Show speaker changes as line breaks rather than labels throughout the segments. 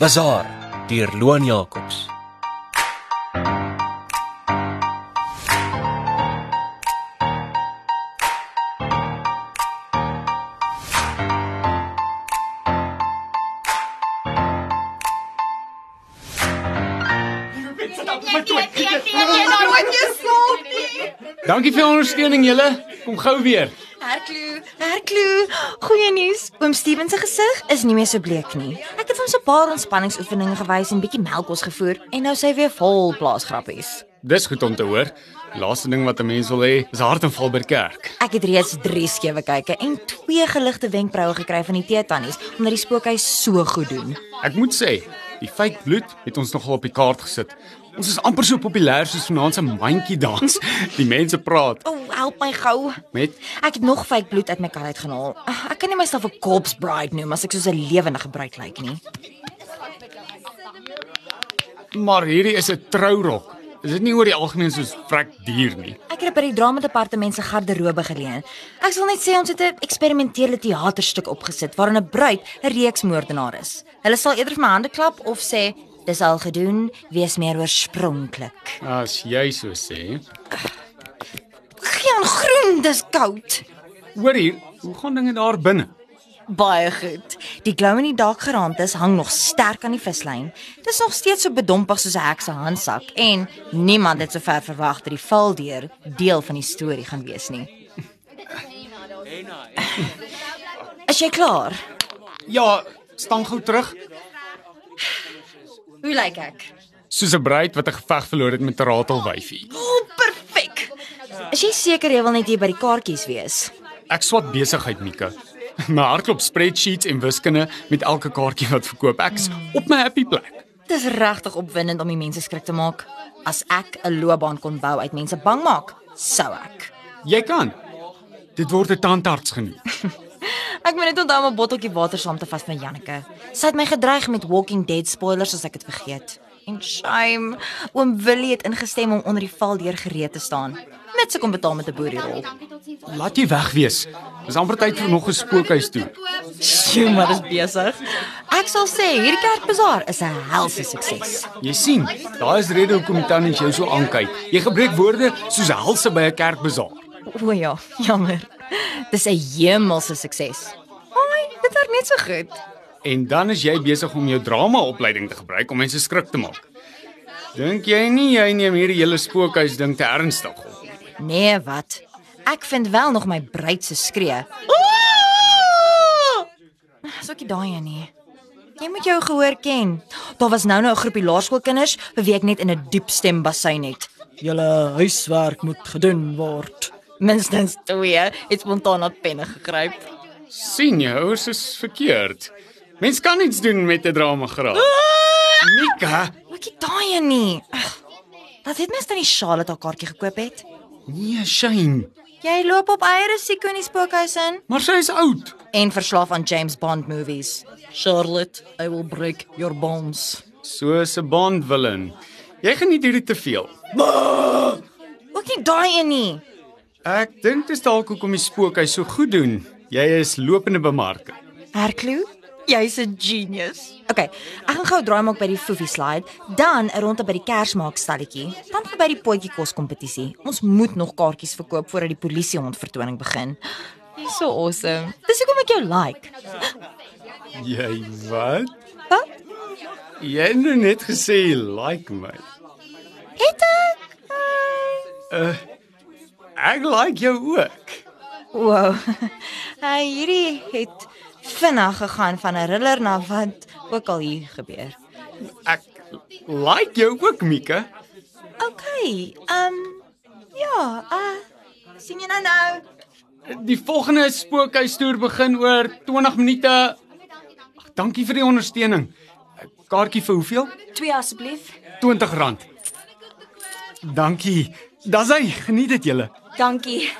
Bazaar deur Loan Jacobs.
Nooit jou slaap nie.
Dankie vir die ondersteuning julle. Kom gou weer.
Herklou, herklou. Goeie nuus. Oom Steven se gesig is nie meer so bleek nie. Ek het vir hom so 'n paar ontspanningsoefeninge gewys en bietjie melkkos gevoer en nou sy weer vol blaasgrappies.
Dis goed om te hoor. Laaste ding wat 'n mens wil hê, is hartaanval by die kerk.
Ek het reeds 3 skewe kyke en 2 geligte wenkbroue gekry van die teetannies omdat die spookhuis so goed doen.
Ek moet sê, die fake bloed het ons nogal op die kaart gesit. Ons is amper so populêr soos vanaand se mandjie dans. Die mense praat
O, oh, help my gou.
met
Ek het nog fake bloed uit my kar uitgehaal. Ek kan nie myself 'n corpse bride noem as ek soos 'n lewendige bruid lyk nie.
maar hierdie is 'n trourok. Is dit nie oor die algemeen soos vrek duur nie.
Ek het dit by die dramadepartement se garderobe geleen. Ek sal net sê ons het 'n eksperimentele teaterstuk opgesit waarin 'n bruid 'n reeksmoordenaar is. Hulle sal eerder vir my hande klap of sê dis al gedoen, wees meer oorspronklik.
As jy so sê.
Geen groen, dis koud.
Hoor hier, hoe gaan dinge daar binne?
Baie goed. Die glow in die dak geraamtes hang nog sterk aan die vislyn. Dis nog steeds so bedompig soos 'n heks se handsak en niemand het sover verwag dat die valdeur deel van die storie gaan wees nie. Is jy klaar?
Ja, staan gou terug.
Hoe lyk ek?
Soos 'n bruid wat 'n geveg verloor het met 'n ratelwyfie.
O, oh, perfek. Is jy seker jy wil net hier by die kaartjies wees?
Ek swat besigheid, Mika. My hardloop spreadsheets en wiskunde met elke kaartjie wat verkoop. Ek is op my happy plek.
Dis regtig opwindend om die mense skrik te maak. As ek 'n loopbaan kon bou uit mense bang maak, sou ek.
Jy kan. Dit word 'n tandarts genoem.
Ek moet net onthou om 'n botteltjie water saam te vat van Janneke. Sy het my gedreig met Walking Dead spoilers as ek dit vergeet. En shame, oom Willie het ingestem om onder die val deur gereed te staan. Net se kom betaal met 'n boerierol.
Laat jy weg wees. Dis amper tyd vir nog 'n spookhuis toe.
Sjoe, maar dis besig. Ek sal sê hierdie kerkbazaar is 'n helse sukses.
Jy sien, daar is rede hoekom die tannies jou so aankyk. Jy gebruik woorde soos helse by 'n kerkbazaar.
O ja, jammer. Dis 'n hemelse sukses. Haai, dit werk net so goed.
En dan is jy besig om jou dramaopleiding te gebruik om mense skrik te maak. Dink jy nie jy neem hierdie hele spookhuis ding te ernstig op? nie?
Nee, wat? Ek vind wel nog my bruid se skree. Soekie daai een nie. Jy moet jou gehoor ken. Daar was nou nou 'n groepie laerskoolkinders vir wie ek net in 'n diep stem basyn het.
Julle huiswerk moet gedoen word.
Minstens twee het spontaan na penne gegryp.
sien jy ouers is verkeerd. Mens kan iets doen met 'n dramagraaf. Mika,
Soekie daai een nie. Ag, Dat het mens dan die Charlotte haar kaartjie gekoop het.
nee, shame.
Jy loop op eiere siek in die spookhuis in.
Maar sy is oud.
en verslaaf aan James Bond movies.
Charlotte, I will break your bones.
Soos 'n Bond villain. Jy geniet hierdie te veel.
Ook nie daai een nie.
Ek dink dis dalk hoekom die spookhuis so goed doen. Jy is lopende bemarking.
Herklou, jy's 'n genius. Okay, ek gaan gou draai maak by die Foofie slide, dan 'n ronde by die kersmaak stalletjie, dan verby die potjie kos kompetisie. Ons moet nog kaartjies verkoop voordat die polisie hondvertoning begin. Jy's so awesome. Dis hoekom ek jou like.
Jy wat?
Wat?
Jy het nou net gesê jy like my.
Het ek?
Ek like jou ook.
Wow. Uh, hierdie het vinnig gegaan van 'n riller na wat ook al hier gebeur.
Ek like jou ook, Mika.
Okay. Ehm um, ja, uh sien jy nou nou?
Die volgende spookhuistoer begin oor 20 minute. Ag, dankie vir die ondersteuning. Kaartjie vir hoeveel?
Twee asseblief.
R20. Dankie. Dis hy, geniet dit julle.
Dankie.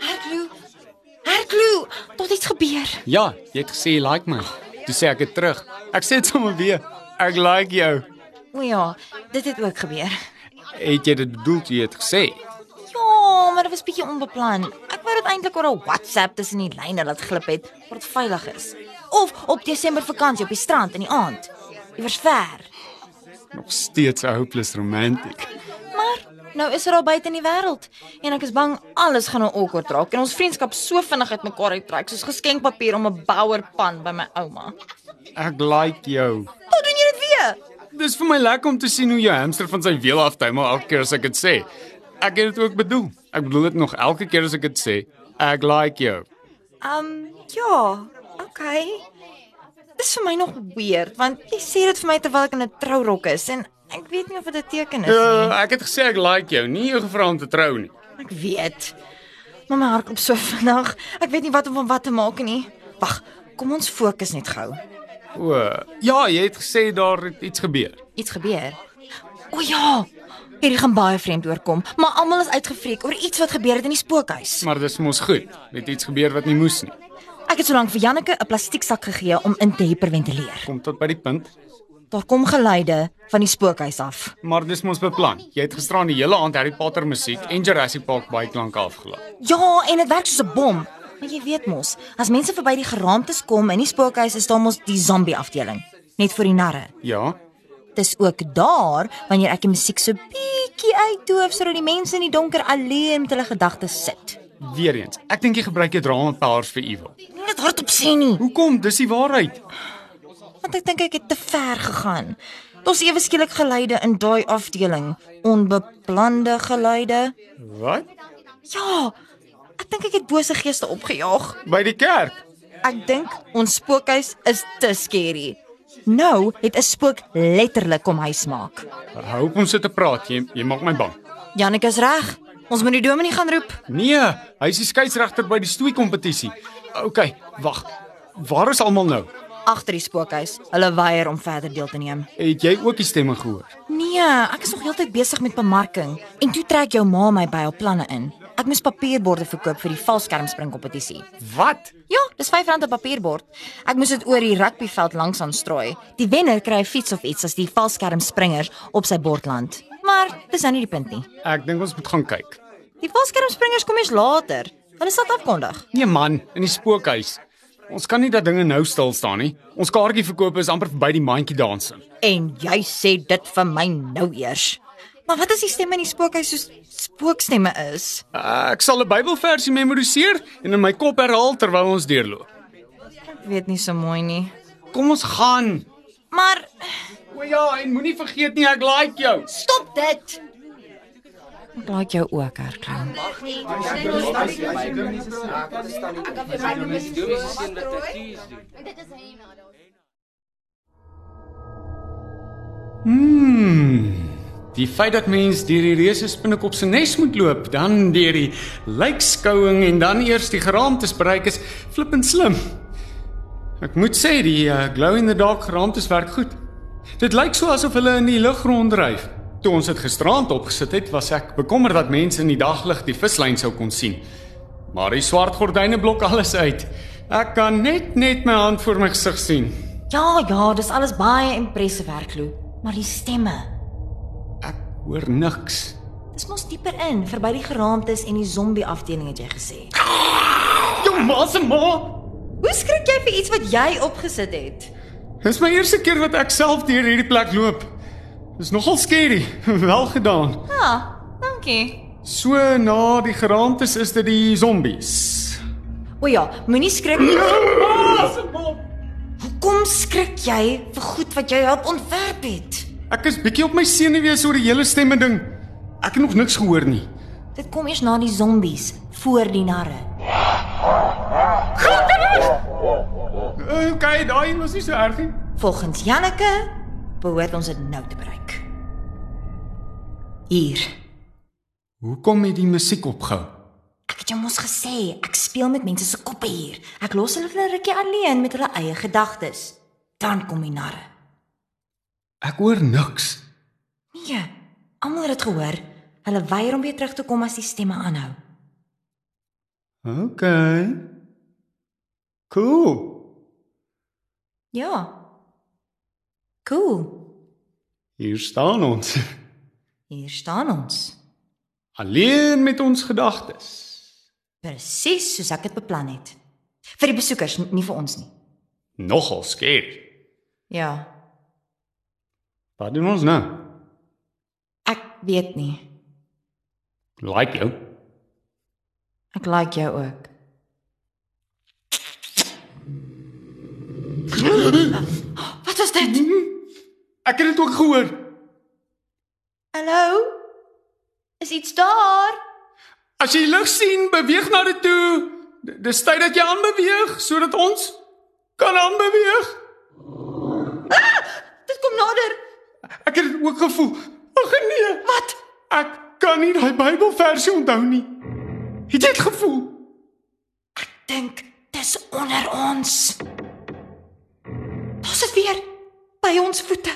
Herklou. Herklou. Tot iets gebeur.
Ja, jy het gesê jy like my. Toe sê ek dit terug. Ek sê dit sommer weer. Ek like jou.
O ja, dit het ook gebeur.
Het jy dit bedoel toe jy het gesê?
Ja, maar dit was bietjie onbeplan. Ek wou dit eintlik oor 'n WhatsApp tussen die lyne laat glip het, waar dit veilig is. Of op Desember vakansie op die strand in die aand. Iewers ver.
Nog steeds 'n hopeless romantic.
Maar nou is dit daar buite in die wêreld en ek is bang alles gaan nou awkward raak en ons vriendskap so vinnig uitmekaar uittrek soos geskenkpapier om 'n bouerpan by my ouma.
Ek like jou.
Hoe doen jy dit weer?
Dis vir my lekker om te sien hoe jou hamster van sy wiel aftuimel elke keer as ek dit sê. Ek het dit ook bedoel. Ek bedoel dit nog elke keer as ek dit sê. Ek like jou.
Ehm um, ja, okay. Dis vir my nog weird want jy sê dit vir my terwyl ek in 'n trourok is en ek weet nie of dit 'n teken is nie.
Uh, ek het gesê ek like jou, nie jou gevra om te trou nie.
Ek weet. Maar my hart klop so vinnig. Ek weet nie wat om van wat te maak nie. Wag, kom ons fokus net gou.
O, ja, jy het gesê daar het iets gebeur.
Iets gebeur. O ja. Hierdie gaan baie vreemd oorkom, maar almal is uitgefreek oor iets wat gebeur het in die spookhuis.
Maar dis mos goed. Net iets gebeur wat nie moes nie.
Ek het solank vir Janneke 'n plastieksak gegee om in te hiperventileer.
Kom tot by die punt.
Daar kom geluide van die spookhuis af.
Maar dis mos beplan. Jy het gisteraan die hele aand Harry Potter musiek en Jurassic Park baie klank afgelaai.
Ja, en dit werk soos 'n bom. Maar jy weet mos, as mense verby die geraamtes kom in die spookhuis, is daar mos die zombie afdeling, net vir die narre.
Ja,
Dis ook daar wanneer ek die musiek so bietjie uitdoof sodat die mense in die donker alleen met hulle gedagtes sit.
weer eens. Ek dink jy gebruik jou drama powers vir evil.
Moenie dit hardop sê nie,
Hoekom? Dis die waarheid.
want ek dink ek het te ver gegaan. Daar's ewe skielik geluide in daai afdeling, onbeplande geluide.
Wat?
Ja, ek dink ek het bose geeste opgejaag.
By die kerk.
Ek dink ons spookhuis is te skerry. Nou het 'n spook letterlik kom huis maak.
Hou op om so te praat. Jy, jy maak my bang.
Janneke is reg. Ons moet die dominee gaan roep.
Nee, hy's die skeieregter by die stoei kompetisie. OK, wag. Waar is almal nou?
Agter die spookhuis. Hulle weier om verder deel te neem.
Het jy ook die stemme gehoor?
Nee, ek is nog heeltyd besig met bemarking en toe trek jou ma my by haar planne in. Ek moes papierborde verkoop vir die valskermspringkompetisie.
Wat?
Ja, dis R5 'n papierbord. Ek moes dit oor die rugbyveld langs aan strooi. Die wenner kry 'n fiets of iets as die valskermspringers op sy bord land. Maar dis nou nie die punt nie.
Ek dink ons moet gaan kyk.
Die valskermspringers kom eers later. Hulle sal dit afkondig.
Nee man, in die spookhuis. Ons kan nie dat dinge nou stil staan nie. Ons kaartjieverkope is amper verby die mandjie dansing.
En jy sê dit vir my nou eers. Maar wat as die stemme in die spookhuis soos spookstemme is?
Uh, ek sal 'n Bybelversie memoriseer en in my kop herhaal terwyl ons deurloop.
Ek weet nie so mooi nie.
Kom ons gaan.
Maar
O ja, en moenie vergeet nie ek like jou.
stop dit. Ek like jou ook, Herkraan.
Hmm. Die feit dat mens deur die reuse spinnekop se nes moet loop, dan deur die lijkskouing en dan eers die geraamtes bereik is flippend slim. Ek moet sê die uh, glow in the dark geraamtes werk goed. Dit lyk so asof hulle in die lug ronddryf. Toe ons dit gisteraand opgesit het, was ek bekommerd dat mense in die daglig die vislyn sou kon sien. Maar die swart gordyne blok alles uit. Ek kan net net my hand voor my gesig sien.
Ja, ja, dis alles baie impressive werk, Lou, maar die stemme.
Ek hoor niks.
Dis mos dieper in, verby die geraamtes en die zombie afdeling het jy gesê.
Jou ma se ma.
Hoe skrik jy vir iets wat jy opgesit het?
Dis my eerste keer wat ek self deur hierdie plek loop. Dis nogal skerry. Wel gedaan.
Ja, dankie.
So na die geraamtes is dit die zombies.
O ja, moenie skrik nie.
Ek
Hoekom skrik jy vir goed wat jy help ontwerp het?
is bietjie op my senuwees oor die hele stemme ding. Ek het nog niks gehoor nie.
Dit kom eers na die zombies, voor die narre.
OK, daai een was nie so erg nie.
Volgens Janneke behoort ons dit nou te bereik. Hier.
Hoekom het die musiek opgehou?
Ek het jou mos gesê, ek speel met mense se koppe hier. Ek los hulle vir 'n rukkie alleen met hulle eie gedagtes. Dan kom die narre.
Ek hoor niks.
Nee, almal het dit gehoor. Hulle weier om weer terug te kom as die stemme aanhou.
OK. Cool.
Ja. Cool.
Hier staan ons.
Hier staan ons.
Alleen met ons gedagtes.
Presies soos ek dit beplan het. Vir die besoekers, n- nie vir ons nie.
Nogal skerp.
Ja,
Wat doen ons nou?
ek weet nie.
Like jou.
Ek like jou ook. Wat was dit?
Ek het dit ook gehoor.
Hallo? Is iets daar?
As jy lig sien, beweeg na dit toe. D- Dis tyd dat jy aanbeweeg sodat ons kan aanbeweeg.
Dit kom nader.
Ek het dit ook gevoel. Ag nee. Wat? Ek kan nie daai Bybelversie onthou nie. Het jy dit gevoel?
Dink, dis onder ons. Ons is weer by ons voete.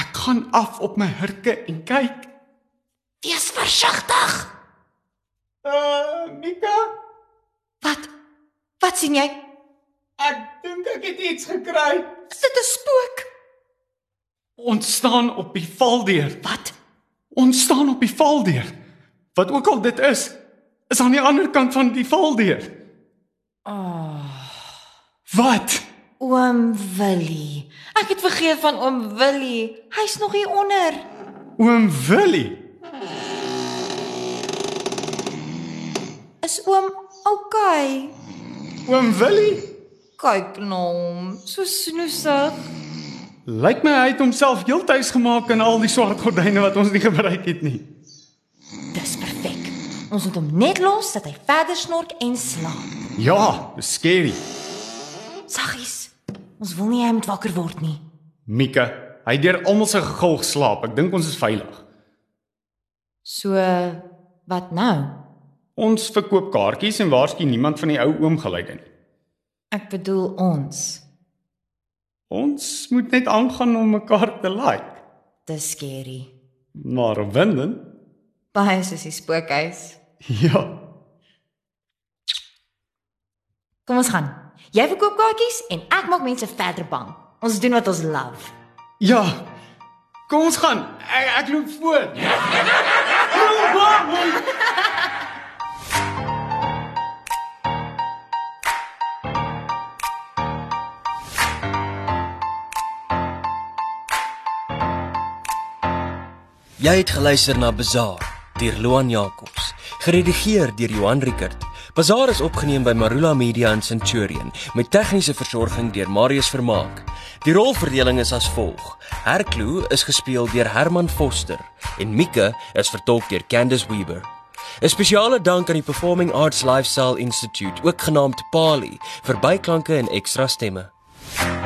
Ek gaan af op my hurke en kyk.
Wees versigtig.
Uh, Mika,
Wat? Wat sien jy?
ek dink ek het iets gekry.
Is dit 'n spook?
Ons staan op die valdeur.
Wat?
Ons staan op die valdeur. Wat ook al dit is, is aan die ander kant van die valdeur. Ah. Wat?
Oom Willie. Ek het vergeet van oom Willie. Hy's nog hier onder.
Oom Willie.
Is oom okay?
Oom Willie
Kyk na hom, so snoesig.
lyk my hy het homself heeltuis gemaak in al die swart gordyne wat ons nie gebruik het nie.
Dis perfek. Ons moet hom net los dat hy verder snork en slaap.
Ja, dis skerry.
Saggies. Ons wil nie hy moet wakker word nie.
Mika, hy het deur almal se gegil geslaap. Ek dink ons is veilig.
So wat nou?
Ons verkoop kaartjies en waarskynlik niemand van die ou oom gelyk nie.
Ek bedoel ons.
Ons moet net aangaan om mekaar te like.
Dis skerry.
Maar opwindend.
Baie soos die spookhuis.
Ja.
Kom ons gaan. Jy verkoop kaartjies en ek maak mense verder bang. Ons doen wat ons love.
Ja. Kom ons gaan. Ek, ek loop voor.
Jy het geluister na Bazaar deur Loan Jacobs, geredigeer deur Johan Rickert. Bazaar is opgeneem by Marula Media in Centurion met tegniese versorging deur Marius Vermaak. Die rolverdeling is as volg: Herclu is gespeel deur Herman Foster en Mika is vertolk deur Candice Weber. 'n Spesiale dank aan die Performing Arts Lifestyle Institute, ook genaamd PALI, vir byklanke en ekstra stemme.